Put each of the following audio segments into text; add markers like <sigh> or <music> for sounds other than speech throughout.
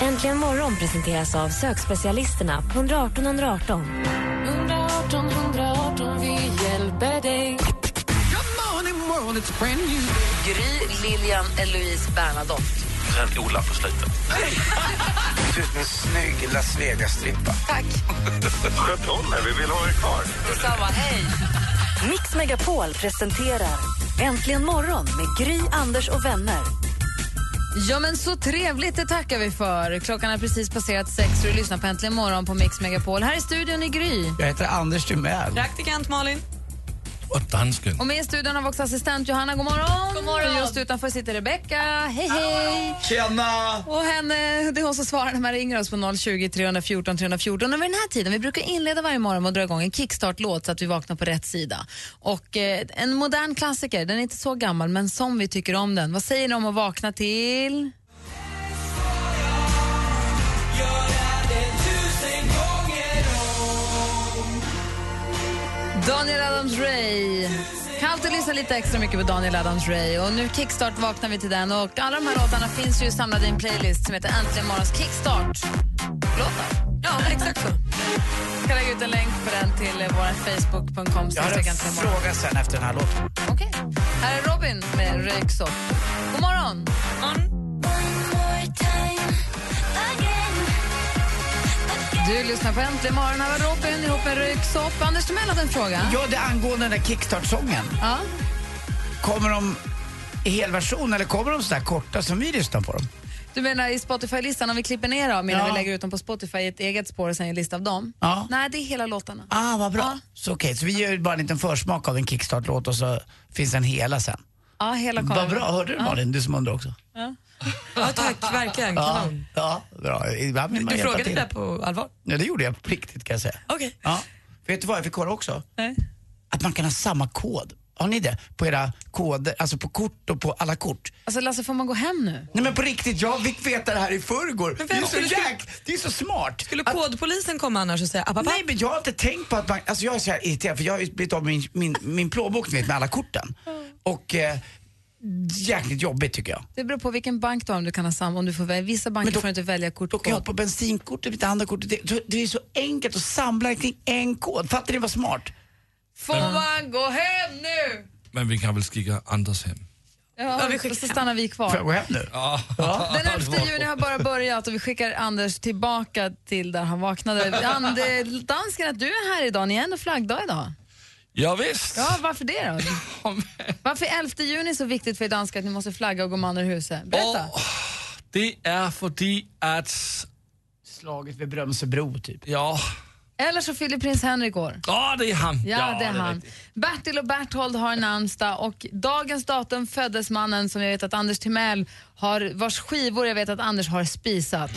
Äntligen morgon presenteras av sökspecialisterna på 118 118. 118 118, vi hjälper dig. Gry, Lilian, Eloise, Bernadotte. Sen Ola på slutet. ser ut som en snygg Las Vegas-strippa. Sköt om er, vi vill ha er kvar. Detsamma, hej! Mix Megapol presenterar Äntligen morgon med Gry, Anders och vänner. Ja, men så trevligt, det tackar vi för. Klockan har precis passerat sex och du lyssnar på Äntligen morgon på Mix Megapol. Här i studion i Gry. Jag heter Anders Timell. Praktikant Malin. Och dansken. Och med i studion har vi också assistent Johanna. God morgon! God morgon. Och just utanför sitter Rebecka. Hej, hej! Tjena! Och henne, det är hon som svarar när man ringer oss på 020 314 314. Och vid den här tiden, vi brukar inleda varje morgon med att dra igång en kickstart-låt så att vi vaknar på rätt sida. Och eh, en modern klassiker, den är inte så gammal men som vi tycker om den. Vad säger ni om att vakna till? Daniel Adams-Ray. Kan alltid lyssna lite extra mycket på Daniel Adams-Ray. Och nu kickstart vaknar vi till den. Och alla de här låtarna finns ju samlade i en playlist som heter Äntligen morgons kickstart-låtar. Ja, exakt så. Jag kan lägga ut en länk på den till eh, vår Facebook.com. Jag har en Äntligen morgon. fråga sen efter den här låten. Okej. Här är Robin med Röyksopp. God morgon! Du lyssnar på Äntligen morgon. Här var Robin ihop med Röyksopp. Anders Timell hade en fråga. Ja, det är angående den där kickstart-sången. Ja. Kommer de i helversion eller kommer de så där korta som vi lyssnar på dem? Du menar i Spotify-listan, om vi klipper ner dem medan Ja. vi lägger ut dem på Spotify i ett eget spår och sen en lista av dem? Ja. Nej, det är hela låtarna. Ah, vad bra. Ja. Så okej, så vi gör ju bara en liten försmak av en kickstart-låt och så finns en hela sen. Ja, hela kameran. Vad bra, hörde du Malin? Du som undrar också. Ja tack, verkligen. Ja, Kanon. ja bra. Ibland vill man Du hjälpa frågade till. det där på allvar? Ja, det gjorde jag på riktigt kan jag säga. Okej. Ja. Vet du vad jag fick kolla också? Nej. Att man kan ha samma kod. Har ni det? På era koder, alltså på kort och på alla kort. Alltså Lasse, får man gå hem nu? Nej men på riktigt, jag fick veta det här i förrgår. Det Men är vem så skulle- jäk, det är så smart. Skulle Att- kodpolisen komma annars och säga app, app, app? Nej men jag har inte tänkt på att man, alltså jag är så här irriterad för jag har ju blivit av med min, min, min plånbok ni vet, med alla korten. Och eh, jäkligt jobbigt tycker jag. Det beror på vilken bank du har om du kan ha samma. Om du får välja. Vissa banker Men då- får du inte välja Då kan jag ha kortkod. på bensinkortet, mitt andra kortet. Det, det är så enkelt att samla kring en kod. Fattar ni vad smart? Får man gå hem nu? Men vi kan väl skicka Anders hem. Ja, och så stannar vi Får jag kvar. gå hem nu? Den 11 juni har bara börjat och vi skickar Anders tillbaka till där han <laughs> vaknade. Ander, dansken, att du är här idag. Ni är ändå flaggdag idag. Ja, visst. Ja, varför det då? Varför är 11 juni så viktigt för er danskar att ni måste flagga och gå man ur huset? Berätta. Det är fördi att... Slaget vid Brömsebro typ. Ja, Eller så fyller prins Henrik år. oh, det är han. Ja, det är han. riktigt. Bertil och Berthold har namnsdag och dagens datum föddes mannen som jag vet att Anders Timell har, vars skivor jag vet att Anders har spisat.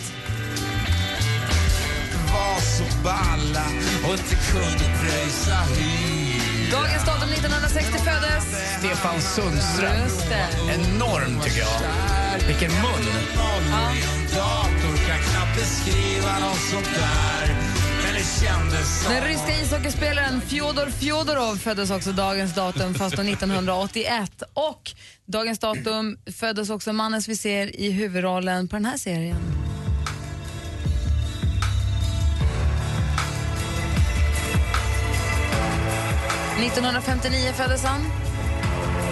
Var så balla och inte kunde pröjsa Dagens datum 1960 föddes. Stefan Sundström. Just det. Enorm tycker jag. Vilken mun. Dator kan knappt beskriva något sånt där. Men det kändes som... Den ryska ishockeyspelaren Fjodor Fjodorov föddes också dagens datum, fast då 1981. Och dagens datum föddes också mannen som vi ser i huvudrollen på den här serien. ...1959 föddes han.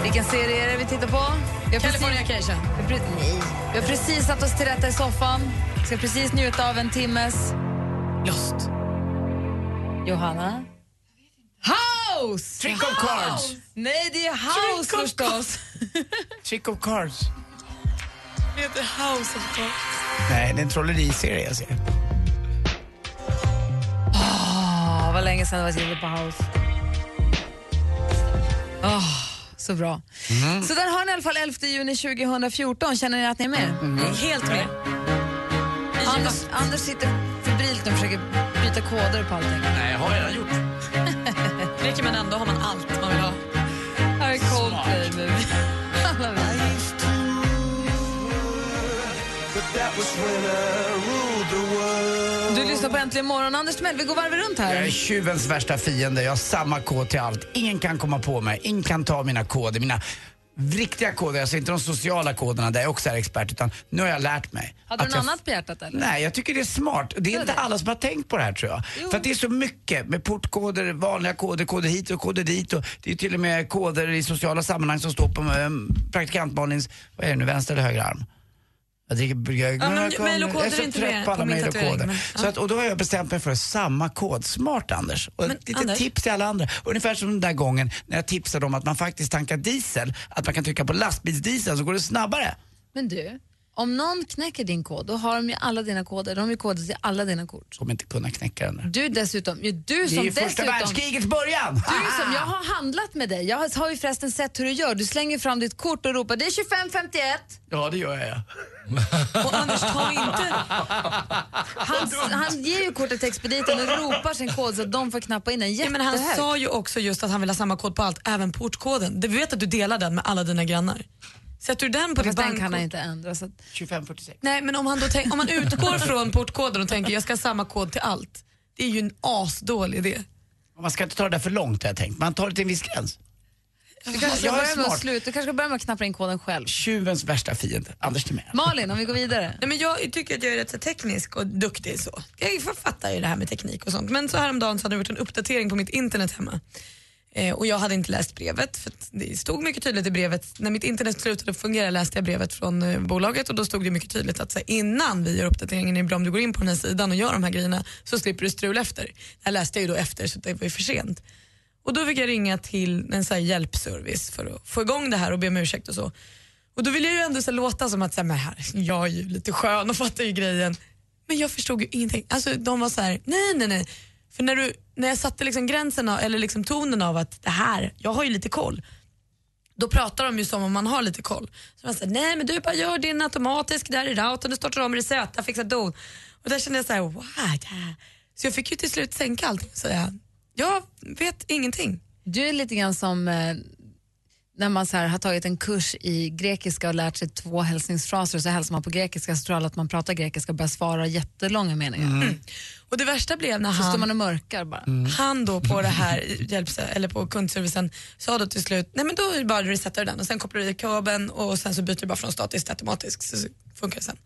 Vilken serie är det vi tittar på? Vi har precis- California Cation. vi har pre- Nej. Vi har precis satt oss till rätta i soffan. Ska precis njuta av en timmes... Lost. Johanna? House! Trick of cards. Nej, det är house Trick of förstås. Trick of cards. Det heter House of Cards. Nej, det är en trolleriserie jag ser. Åh, vad länge sedan det var skrivet på house. Åh, så bra. Så där har ni i alla fall 11 juni 2014. Känner ni att ni är med? Helt med. Anders, Anders sitter febrilt den försöker byta koder på allting. Nej, jag har redan gjort. Leker man ändå har man allt man vill ha. Här är Coldplay med alla vi. Du lyssnar på Äntligen morgon. Anders Timell, vi går varvet runt Jag är här. tjuvens värsta fiende. Jag har samma kod till allt. Ingen kan komma på mig. Ingen kan ta mina koder. Mina riktiga koder, alltså inte de sociala koderna där jag också är expert, utan nu har jag lärt mig. Hade du att något jag- annat på hjärtat eller? Nej, jag tycker det är smart. Det är inte alla som har tänkt på det här tror jag. För att det är så mycket med portkoder, vanliga koder, koder hit och koder dit. Och det är till och med koder i sociala sammanhang som står på um, praktikantmalins, vad är det nu, vänster eller höger arm? Jag dricker jag, Ja, men jag, ju- mejl och koder jag är så är inte trött på med på alla min mejl och tatuering, koder. men, Så att, och då har jag bestämt mig för samma kod. Smart Anders. Och ett litet Anders. tips till alla andra. Ungefär som den där gången när jag tipsade om att man faktiskt tankar diesel, att man kan trycka på lastbilsdiesel så går det snabbare. Men du, om någon knäcker din kod, då har de ju alla dina koder. De har ju koder till alla dina kort. Kommer inte kunna knäcka den där. Du dessutom, ju du Det är som ju första Ah. dessutom... världskrigets början. Du som, jag har handlat med dig. Jag har ju förresten sett hur du gör. Du slänger fram ditt kort och ropar det är 2551. Ja, det gör jag. Och Anders tar inte... Han, han ger ju kortet till expediten och ropar sin kod så att de får knappa in den Ja, men jättehögt. han sa ju också just att han vill ha samma kod på allt, även portkoden. Du vet att du delar den med alla dina grannar. Sätter du den på ditt Fast den bankkort? kan han inte ändra. Så att... 2546. Nej, men om, han då tänk, om <laughs> man utgår från portkoden och tänker jag ska ha samma kod till allt. Det är ju en asdålig idé. Man ska inte ta det där för långt har jag tänkt. Man tar det till en viss gräns. Du kanske ska Jag är börja med att smart. sluta. Du kanske ska börja med att knappa in koden själv. Tjuvens värsta fiende, Anders Timell. Malin, om vi går vidare. Nej, men jag tycker att jag är rätt så teknisk och duktig så. Jag fattar ju det här med teknik och sånt. Men så häromdagen så hade jag gjort en uppdatering på mitt internet hemma. Eh, och jag hade inte läst brevet för att det stod mycket tydligt i brevet. När mitt internet slutade fungera läste jag brevet från eh, bolaget och då stod det mycket tydligt att så här, innan vi gör uppdateringen är det bra om du går in på den här sidan och gör de här grejerna så slipper du strul efter. Det här läste jag ju då efter så det var ju för sent. Och då fick jag ringa till en så här hjälpservice för att få igång det här och be om ursäkt och så. Och då vill jag ju ändå så här låta som att så här, men här, jag är ju lite skön och <laughs> fattar ju grejen. Men jag förstod ju ingenting. Alltså de var så här, nej nej nej. För när, du, när jag satte liksom gränsen av, eller liksom tonen av att det här, jag har ju lite koll. Då pratar de ju som om man har lite koll. Så man säger, nej men du bara gör din automatisk där i routern, du startar om resöta, fixar don. Och där kände jag så här, wow. yeah." Så jag fick ju till slut sänka allting och säga, jag vet ingenting. Du är lite grann som eh, när man så här, har tagit en kurs i grekiska och lärt sig två hälsningsfraser och så hälsar man på grekiska så tror alla att man pratar grekiska och börjar svara jättelånga meningar. Mm. Och det värsta blev när Så han... Mm. står man och mörkar bara. Han då på det här hjälps, eller på kundservicen sa då till slut, nej men då är det bara resetar du den och sen kopplar du i kabeln och sen så byter du bara från statisk till automatisk så så funkar det sen. Och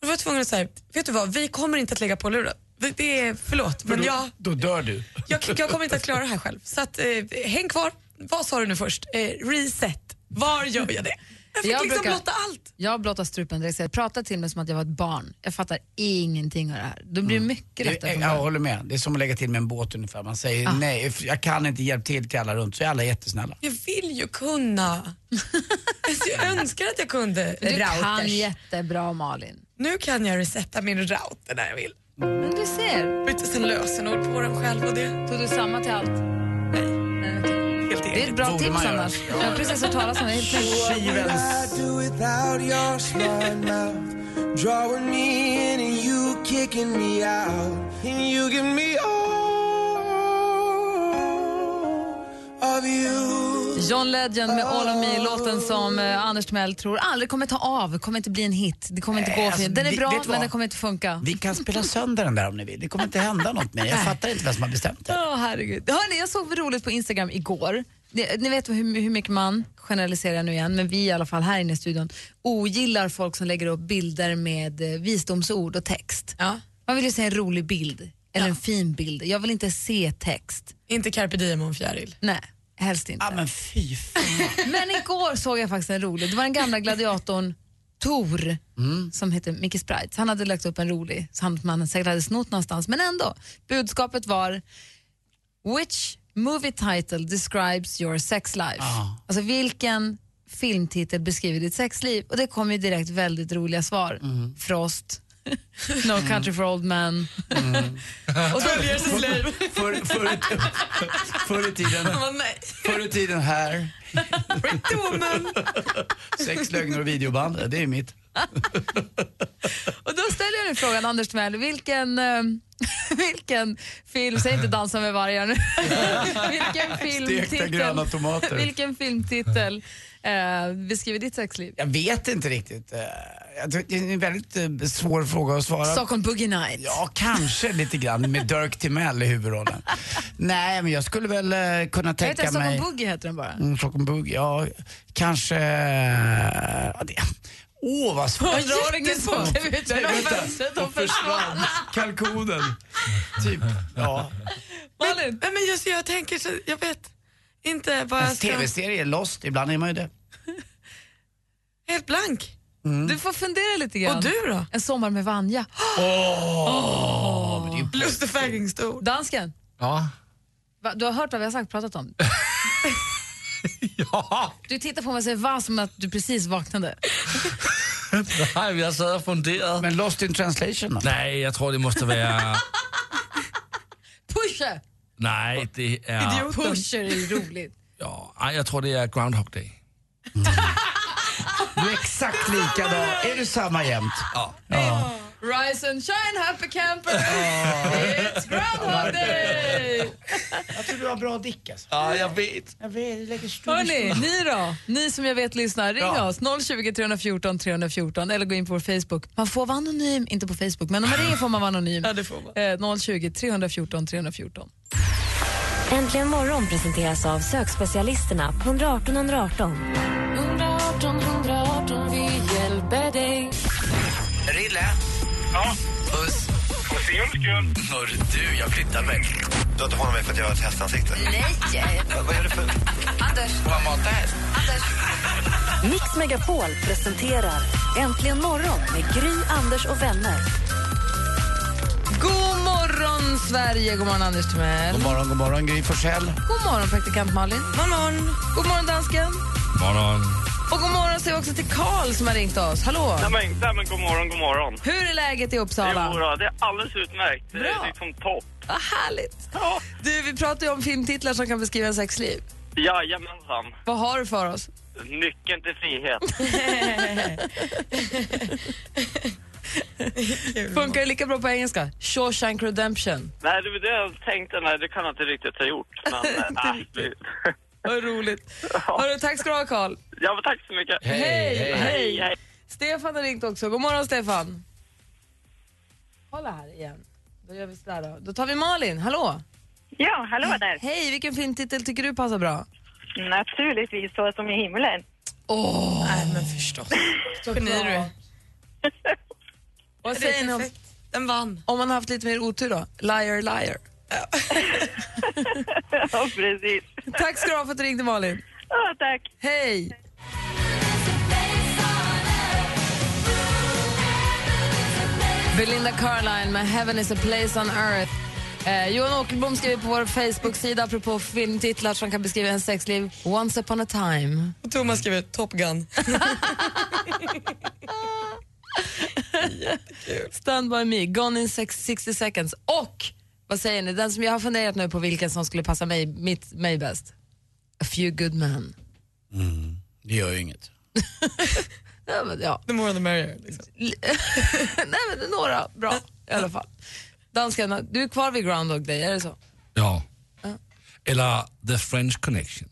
då var jag tvungen att säga, vet du vad, vi kommer inte att lägga på luren. Vi- Det är, förlåt, men jag, Då dör du. jag, jag kommer inte att klara det här själv. Så att, eh, häng kvar. Vad sa du nu först? Eh, reset. Var gör jag det? Jag fick Jag liksom brukar- blotta allt. Jag blottar strupen direkt. så Jag pratar till mig som att jag var ett barn. Jag fattar ingenting av det här. Då Mm. blir det mycket Det, lättare för jag mig. Ah. håller med. Det är som att lägga till med en båt ungefär. Man säger nej, f- jag kan inte hjälpa till till alla runt. Så är alla jättesnälla. Jag vill ju kunna. Alltså, jag önskar att jag kunde Du kan routers. jättebra Malin. Nu kan jag resetta min router när jag vill. Men du ser, Byta sen lösenord på den själv och det. tog du samma till allt? Nej. Helt Det är ett eget. bra Borde tips man göra. annars. Jag har precis hört talas om det. Helt nytt. Tjuvens... I do without your smart mouth, drawing me in and you kicking me out, and you give me all of you. John Legend med All of Me, låten som eh, Anders Timell tror aldrig kommer ta av, kommer inte bli en hit. Det kommer inte Nej, gå för alltså, Den är vi- bra vet du men vad? den kommer inte funka. Vi kan spela sönder den där om ni vill. Det kommer inte hända något med Jag fattar inte vem som har bestämt det. Åh herregud. Hörni, jag såg roligt på Instagram igår. Det, ni vet hur, hur mycket man, generaliserar jag nu igen, men vi i alla fall här inne i studion ogillar folk som lägger upp bilder med eh, visdomsord och text. Ja. Man vill ju se en rolig bild eller en fin bild. Jag vill inte se text. Inte carpe diem och en fjäril. Nej, helst inte. Ja men fy fan. Men igår såg jag faktiskt en rolig. Det var den gamla gladiatorn Tor Mm. som heter Micke Sprites. Han hade lagt upp en rolig som han säkert hade snott någonstans. Men ändå, budskapet var Which movie title describes your sex life? Ja. Alltså vilken filmtitel beskriver ditt sexliv? Och det kom ju direkt väldigt roliga svar. Mm. Frost, <laughs> No country for old men. Och följer sitt liv. <laughs> Förr för, förr i tiden, Man bara, nej. förr i tiden här. Pretty woman. <laughs> Sex lögner och videoband. Det är mitt. Och då ställer jag nu frågan, Anders Timell, vilken, eh, <laughs> vilken film, säg inte dansa med vargar nu, <laughs> vilken Stekta gröna filmtitel, tomater. vilken filmtitel eh, beskriver ditt sexliv? Jag vet inte riktigt. Eh, jag tror- Det är en väldigt eh, svår fråga att svara på. Stockholm Boogie Night. Ja, kanske lite grann med Dirk Timell i huvudrollen. Nej, men jag skulle väl eh, kunna Jag heter tänka Stockholm mig... Boogie heter den bara. Mm, Stockholm Boogie, ja. Kanske... ja, det- Åh, vad svårt. Hundraåringen som klev ut Nej, genom vänta. fönstret och försvann. Kalkonen. Typ, ja. Malin? Men, men just, jag tänker så, jag vet inte vad En Alltså. jag ska... tv-serie, Lost, ibland är man ju det. Helt blank. Du får fundera lite grann. Och du då? En sommar med Vanja. Åh! Lustig fägringstor. Dansken, Ja. va, du har hört vad vi har sagt, pratat <laughs> om. ja. Du tittar på mig och säger va som att du precis vaknade. Nej, men jag sad og funderede. Men Lost in translation då? Nej, jeg tror, det måste være... Pusher! Nej, det er... Pusher är ju roligt. Ja, ej, jeg tror, det er Groundhog Day. Du är exakt likadan. Är du samma jämt? Ja. Rise and shine happy camper, it's Groundhog Day! Jag tror du har bra dick alltså. Ja, jag vet. Jag vet, du lägger stor... Hörni, ni då? Ni som jag vet lyssnar, ring Ja. oss. 020 314 314 eller gå in på vår Facebook. Man får vara anonym, inte på Facebook, men om man ringer får man vara <laughs> anonym. Ja, det får man. Eh, 020 314 314. Äntligen morgon presenteras av sökspecialisterna på 118 118. 118 118, vi hjälper dig. Rille? Ja, Puss. på scen. Hörru du, jag flyttar mig. Du har inte hållit mig för att jag har ett hästansikte? Nej! Vad är det för... Anders! Man matar häst. Mix Megapol presenterar Äntligen morgon med Gry, Anders och vänner. God morgon, Sverige! God morgon, Anders Timell. God morgon, god morgon Gry Forssell. God morgon, praktikant Malin. God morgon. God morgon, dansken. Morgon. Och god morgon säger vi också till Karl som har ringt oss. Hallå! Nej men, nej, men god morgon, god morgon. Hur är läget i Uppsala? Jo, då, det är alldeles utmärkt. Det Bra. är liksom topp. Vad härligt! Du, vi pratar ju om filmtitlar som kan beskriva ens sexliv. Jajamensan. Vad har du för oss? Nyckeln till frihet. Funkar det lika bra på engelska? Shawshank Redemption. nej, det var det jag tänkte. Nej, det kan jag inte riktigt ha gjort. Men, äh, det- <laughs> Vad roligt. Hörru, tack ska du ha, Karl. ja, men tack så mycket. hej. Stefan har ringt också. God morgon, Stefan. Kolla här igen. Då gör vi sådär då. Då tar vi Malin. Hallå! <laughs> Ja, hallå där. Mm, Hej, vilken filmtitel tycker du passar bra? Naturligtvis så som i himlen. Åh! Nej, men förstås. Geni du är. Vad Det är säger ni om... perfekt. Den vann. Om man har haft lite mer otur då? Liar, liar. <laughs> ja, precis. Tack ska du ha för att du ringde, Malin. Ja, tack. Hej! Belinda Carlisle med Heaven is a place on earth. Eh, Johan Åkerblom skriver på vår Facebook-sida apropå filmtitlar som kan beskriva en sexliv. Once upon a time. Och Thomas skriver Top Gun. Stand by me, Gone in sex- 60 seconds och vad säger ni, den som jag har funderat nu på vilken som skulle passa mig, mitt, mig bäst. A few good men. Mm. Det gör ju inget. Ja, men, ja. <laughs> The more the merrier. liksom. Nej men några bra i alla fall. Danskarna, du är kvar vid Groundhog Day, är det så? Ja. Ja. Eller The French <laughs> Connection.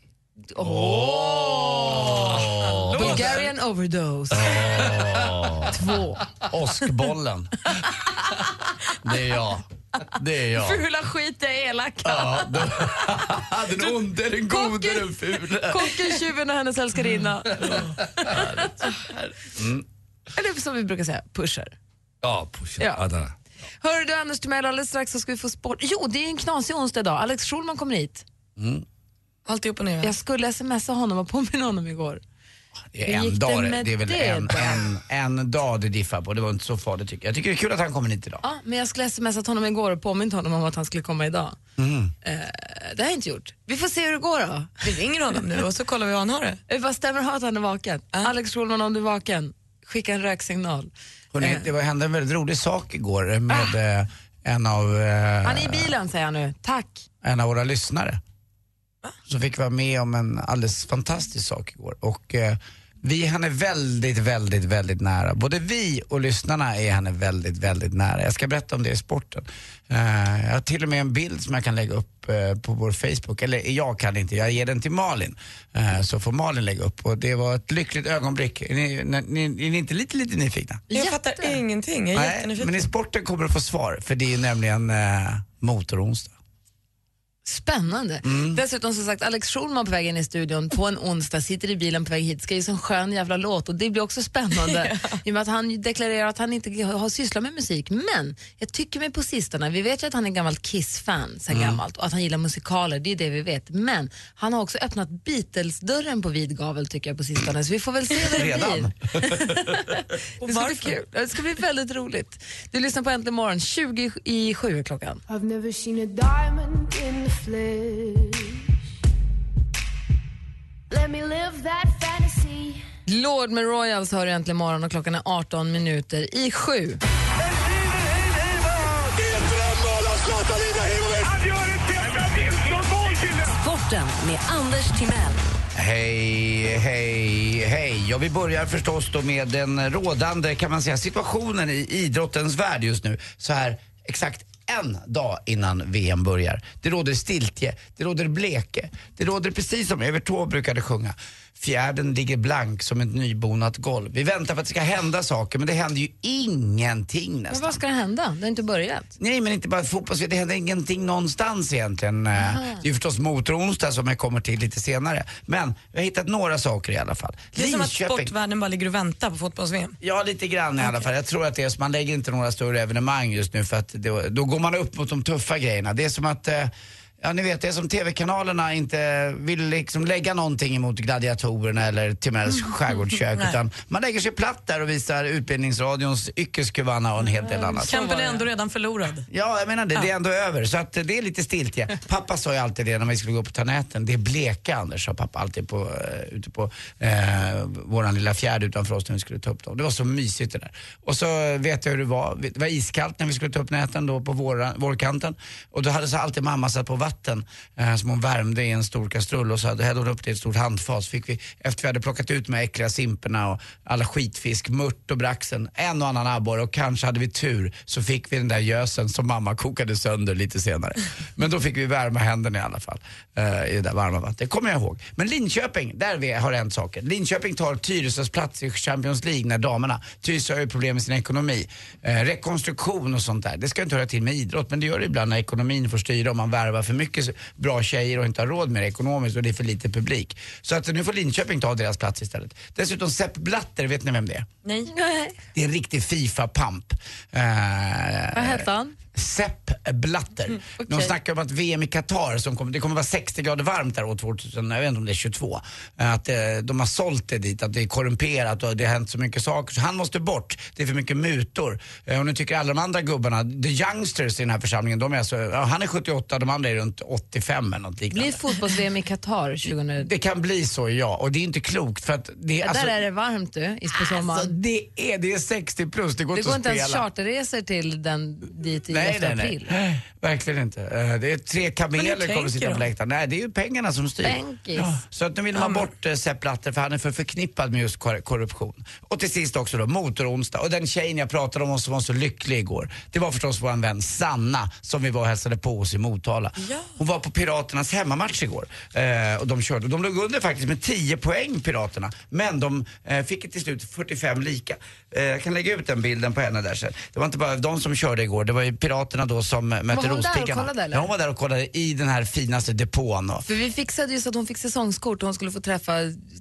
Åh! Bulgarian overdose. Två. Åskbollen. Det är jag. Det är jag. Fula skit är elaka. Ja, den, den onde, den gode, Kocken- den fule. Kocken, tjuven och hennes älskarinna. <laughs> Eller som vi brukar säga, pusher. Ja, push. Ja. Ja. där. Hörru du Anders Timell, alldeles strax så ska vi få sport. Jo, det är ju en knasig onsdag idag. Alex Schulman kommer hit. Mm. Allt upp och ner. Jag skulle smsa honom och påminna honom igår. Det är Hur en gick det dag det, med det är väl det en, då? en, en dag det diffar på. Det var inte så farligt tycker jag. Jag tycker det är kul att han kommer hit idag. Ja, men jag skulle smsat honom igår och påmint honom om att han skulle komma idag. Mm. Eh, det har jag inte gjort. Vi får se hur det går då. Vi ringer honom nu och så kollar vi hur han har det. Vi bara stämmer av att han är vaken. Alex Schulman, om du är vaken, skicka en röksignal. Hörrni, det var, hände en väldigt rolig sak igår med eh, en, av, eh, Han är i bilen säger han nu. Tack. en av våra lyssnare. Som fick vara med om en alldeles fantastisk sak igår. Och eh, Vi är henne väldigt, väldigt, väldigt nära. Både vi och lyssnarna är henne väldigt, väldigt nära. Jag ska berätta om det i sporten. Eh, jag har till och med en bild som jag kan lägga upp eh, på vår Facebook. Eller jag kan inte, jag ger den till Malin. Eh, så får Malin lägga upp. Och det var ett lyckligt ögonblick. Är ni, ni, ni, är ni inte lite, lite nyfikna? Jag fattar ingenting. Jag är jättenyfiken. men i sporten kommer du få svar. För det är nämligen eh, motoronsdag. Spännande. Dessutom som sagt, Alex Schulman på väg in i studion på en onsdag, sitter i bilen på väg hit, ska ju en skön jävla låt och det blir också spännande i och med att han ju deklarerar att han inte har sysslat med musik. Men jag tycker mig på sistone, vi vet ju att han är gammalt Kiss-fan sen Mm. gammalt och att han gillar musikaler, det är det vi vet. Men han har också öppnat Beatles-dörren på vid gavel tycker jag på sistone, så vi får väl se vad det blir. Det ska, bli kul. det ska bli väldigt roligt. Du lyssnar på Äntligen morgon, 20 i 7 är klockan. I've never seen a diamond in the flesh. Let me live that fantasy. Lord med Royals hör äntligen morgon och klockan är 18 minuter i sju. Sporten med Anders Timell. Hej, hej, hej. Ja, vi börjar förstås då med den rådande kan man säga, situationen i idrottens värld just nu. Så här exakt en dag innan VM börjar. Det råder stiltje, det råder bleke. Det råder precis som Evert Taube brukade sjunga. Fjärden ligger blank som ett nybonat golv. Vi väntar på att det ska hända saker men det händer ju ingenting Men nästan. vad ska hända? Det har inte börjat. Nej, men inte bara fotbolls... Det händer ingenting någonstans egentligen. Eh, Det är ju förstås motoronsdag som jag kommer till lite senare. Men jag har hittat några saker i alla fall. Det är som att sportvärlden bara ligger och väntar på fotbolls-VM. Ja, lite grann i alla fall. Jag tror att det är så. Man lägger inte några större evenemang just nu för att då, då går man upp mot de tuffa grejerna. Det är som att eh, Ja, ni vet, det är som TV-kanalerna inte vill liksom lägga någonting emot gladiatorerna eller Timells skärgårdskök Mm. Nej. utan man lägger sig platt där och visar Utbildningsradions Yrkeskuvanna och en hel del annat. Kampen är ändå redan förlorad. Ja, jag menar det. Det är ändå över. Så att eh, det är lite stiltje. Pappa sa ju alltid det när vi skulle gå på toaletten. Det är bleka, Anders, sa pappa alltid på, eh, ute på eh, våran lilla fjärd utanför oss när vi skulle ta upp dem. Det var så mysigt det där. Och så eh, vet jag hur det var. Det var iskallt när vi skulle ta upp näten då på våra, vårkanten. Och då hade så alltid mamma satt på vatten eh, som hon värmde i en stor kastrull och så hade- hällde hon upp det i ett stort handfat. Så Fick vi, efter vi hade plockat ut de här äckliga simporna och alla skitfisk, mört och braxen, en och annan abborre och kanske hade vi tur så fick vi den där gösen som mamma kokade sönder lite senare. Men då fick vi värma händerna i alla fall eh, i det där varma vattnet. kommer jag ihåg. Men Linköping, där vi har hänt saker. Linköping tar Tyresös plats i Champions League när damerna, Tyresö har ju problem med sin ekonomi. Eh, rekonstruktion och sånt där, det ska inte höra till med idrott men det gör det ibland när ekonomin får styra om man värvar för mycket bra tjejer och inte har råd med det ekonomiskt och det är för lite publik. Så att nu får Linköping ta deras plats istället. Dessutom Sepp Blatter, vet ni vem det är? Nej. Det är en riktig Fifa-pamp. Eh, Vad Mm, hette han? Sepp Blatter. De snackar om att VM i Qatar, som kommer, det kommer vara 60 grader varmt där år 2000, jag vet inte om det är 22. eh, Att eh, de har sålt det dit, att det är korrumperat och det har hänt så mycket saker. Så han måste bort, det är för mycket mutor. Eh, Och nu tycker alla de andra gubbarna, the youngsters i den här församlingen, de är alltså, ja, han är 78, de andra är runt 85 eller något liknande. Blir fotbolls-VM i Qatar 2000? Det kan bli så ja, och det är inte klokt för att det Ja, alltså- där är det varmt du, i- på sommaren. Alltså, det, är, det är 60 plus, det går det inte går att inte ens spela. charterresor till den dit i Nej, efter nej, april. nej. Verkligen inte. Eh, Det är tre Men hur kameler kommer att tänker sitta på de? läktaren. Nej, det är ju pengarna som styr. Bankis. Ja. Så att nu vill man bort eh, Sepp Blatter för han är för förknippad med just kor- korruption. Och till sist också då, Motoronsdag. Och den tjejen jag pratade om som var så lycklig igår, det var förstås vår vän Sanna som vi var och hälsade på oss i Motala. Hon var på Piraternas hemmamatch igår eh, och de körde. De låg under faktiskt med 10 poäng Piraterna, men de eh, fick till slut 45 lika. Eh, jag kan lägga ut den bilden på henne där sen. Det var inte bara de som körde igår, det var ju Piraterna då som eh, mötte hon där och Rospiggarna. kollade, eller? Ja, hon var där och kollade i den här finaste depån. Och, För vi fixade ju så att hon fick säsongskort och hon skulle få träffa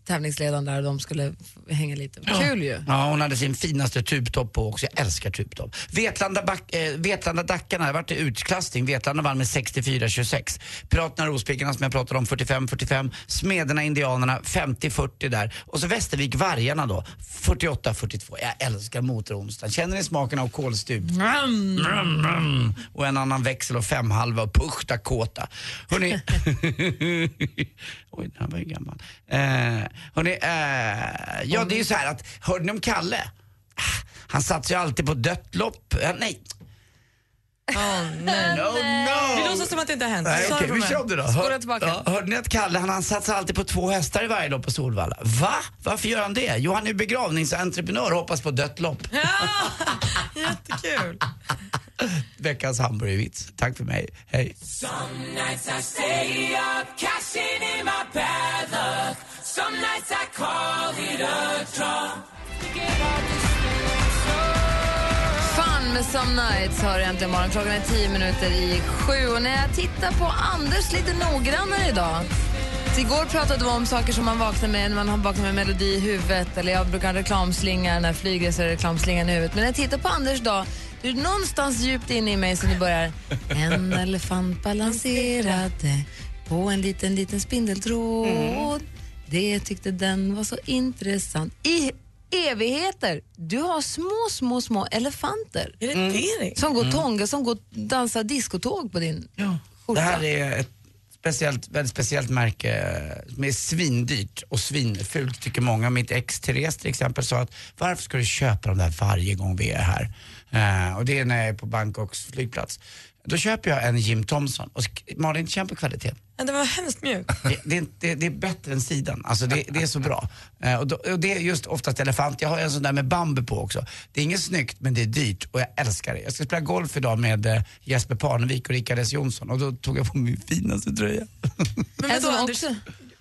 tävlingsledaren där och de skulle f- hänga lite. Kul ju. Ja, hon hade sin finaste tubtopp på också. Jag älskar tubtopp. Vetlanda, back, eh, Vetlanda Dackarna, det vart utklassning. Vetlanda vann med 64-26. Piraterna Rospiggarna som jag pratade om, 45-45. Smederna Indianerna, 50-40 där. Och så Västervik Vargarna då, 48-42. Jag älskar motoronsdagen. Känner ni smaken av kolstup? Brum, brum. Och en annan växel och femhalva och push Dakota. Hörrni... Oj, den här var ju gammal. Eh, hörrni, eh, ja det är ju så här att, hörde ni om Kalle? Ah, Han satsar ju alltid på dött lopp. Eh, nej. <laughs> nej. No, no. Vi låtsas som att det inte har hänt. Nej, Sara okej, vi Bromé. kör om det då. Spola tillbaka. ja, hörde ni att Kalle han, han satsar alltid på två hästar i varje lopp på Solvalla? Va? Varför gör han det? Jo, han är begravningsentreprenör och hoppas på dött lopp. Jättekul. Veckans hamburgervits. Tack för mig. Hej. Some nights I stay up, cashing in my bad luck. Some nights I call it a draw. Fun med Some Nights har du äntligen morgon. Klockan är tio minuter i sju. Och när jag tittar på Anders lite noggrannare idag. Så Igår pratade vi om saker som man vaknar med när man har vaknat med melodi i huvudet. Eller jag brukar ha reklamslingar när jag flyger så är det reklamslingan i huvudet. Men när jag tittar på Anders idag, det är någonstans djupt inne i mig som det börjar... En elefant balanserade på en liten, liten spindeltråd. Det tyckte den var så intressant. I evigheter. Du har små, små, små elefanter. Är det det? Som går Mm. tånga, som går dansar diskotåg på din skjorta. Det här är ett speciellt, väldigt speciellt märke eh, som är svindyrt och svinfult tycker många. Mitt ex Therese till exempel sa att varför ska du köpa de där varje gång vi är här? Eh, och det är när jag är på Bangkoks flygplats. Då köper jag en Jim Thompson och sk- Malin, känn på kvaliteten. Men Den var hemskt mjuk. Det, det, det, det är bättre än sidan. Alltså det, det är så bra. Eh, och, då, och det är just oftast elefant. Jag har en sån där med bambu på också. Det är inget snyggt men det är dyrt och jag älskar det. Jag ska spela golf idag med eh, Jesper Parnevik och Rickard S Jonsson och då tog jag på min finaste tröja. <laughs> Men vadå, Anders,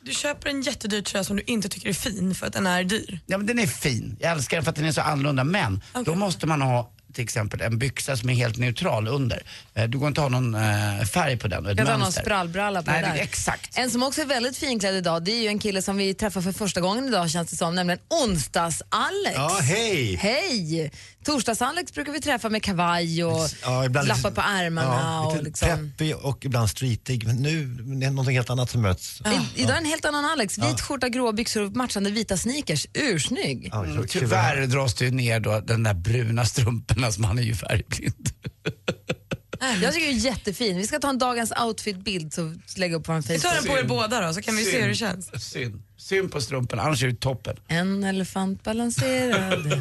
du köper en jättedyr tröja som du inte tycker är fin för att den är dyr. Ja men den är fin. Jag älskar den för att den är så annorlunda. Men då måste man ha till exempel en byxa som är helt neutral under. Eh, Du går inte ha någon eh, färg på den. och ett Jag tar någon mönster. sprallbralla på Nej, det där. är Exakt. En som också är väldigt finklädd idag, det är ju en kille som vi träffar för första gången idag känns det som, nämligen Onsdags-Alex. Ja, hej. Hej! Torsdags-Alex brukar vi träffa med kavaj och Ja, ibland lappar liksom- på ärmarna. Ja, och lite liksom. peppig och ibland streetig. Men nu är det någonting helt annat som möts. I, idag är en helt annan Alex. Vit skjorta, gråa byxor och matchande vita sneakers. Ursnygg. Mm, tyvärr dras det ju ner då den där bruna strumporna som han är ju färgblind. Jag tycker det är jättefin. Vi ska ta en dagens outfit-bild så lägga upp på vår Facebook. känns. Synd. Synd på strumporna, annars är det toppen. En elefant balanserade.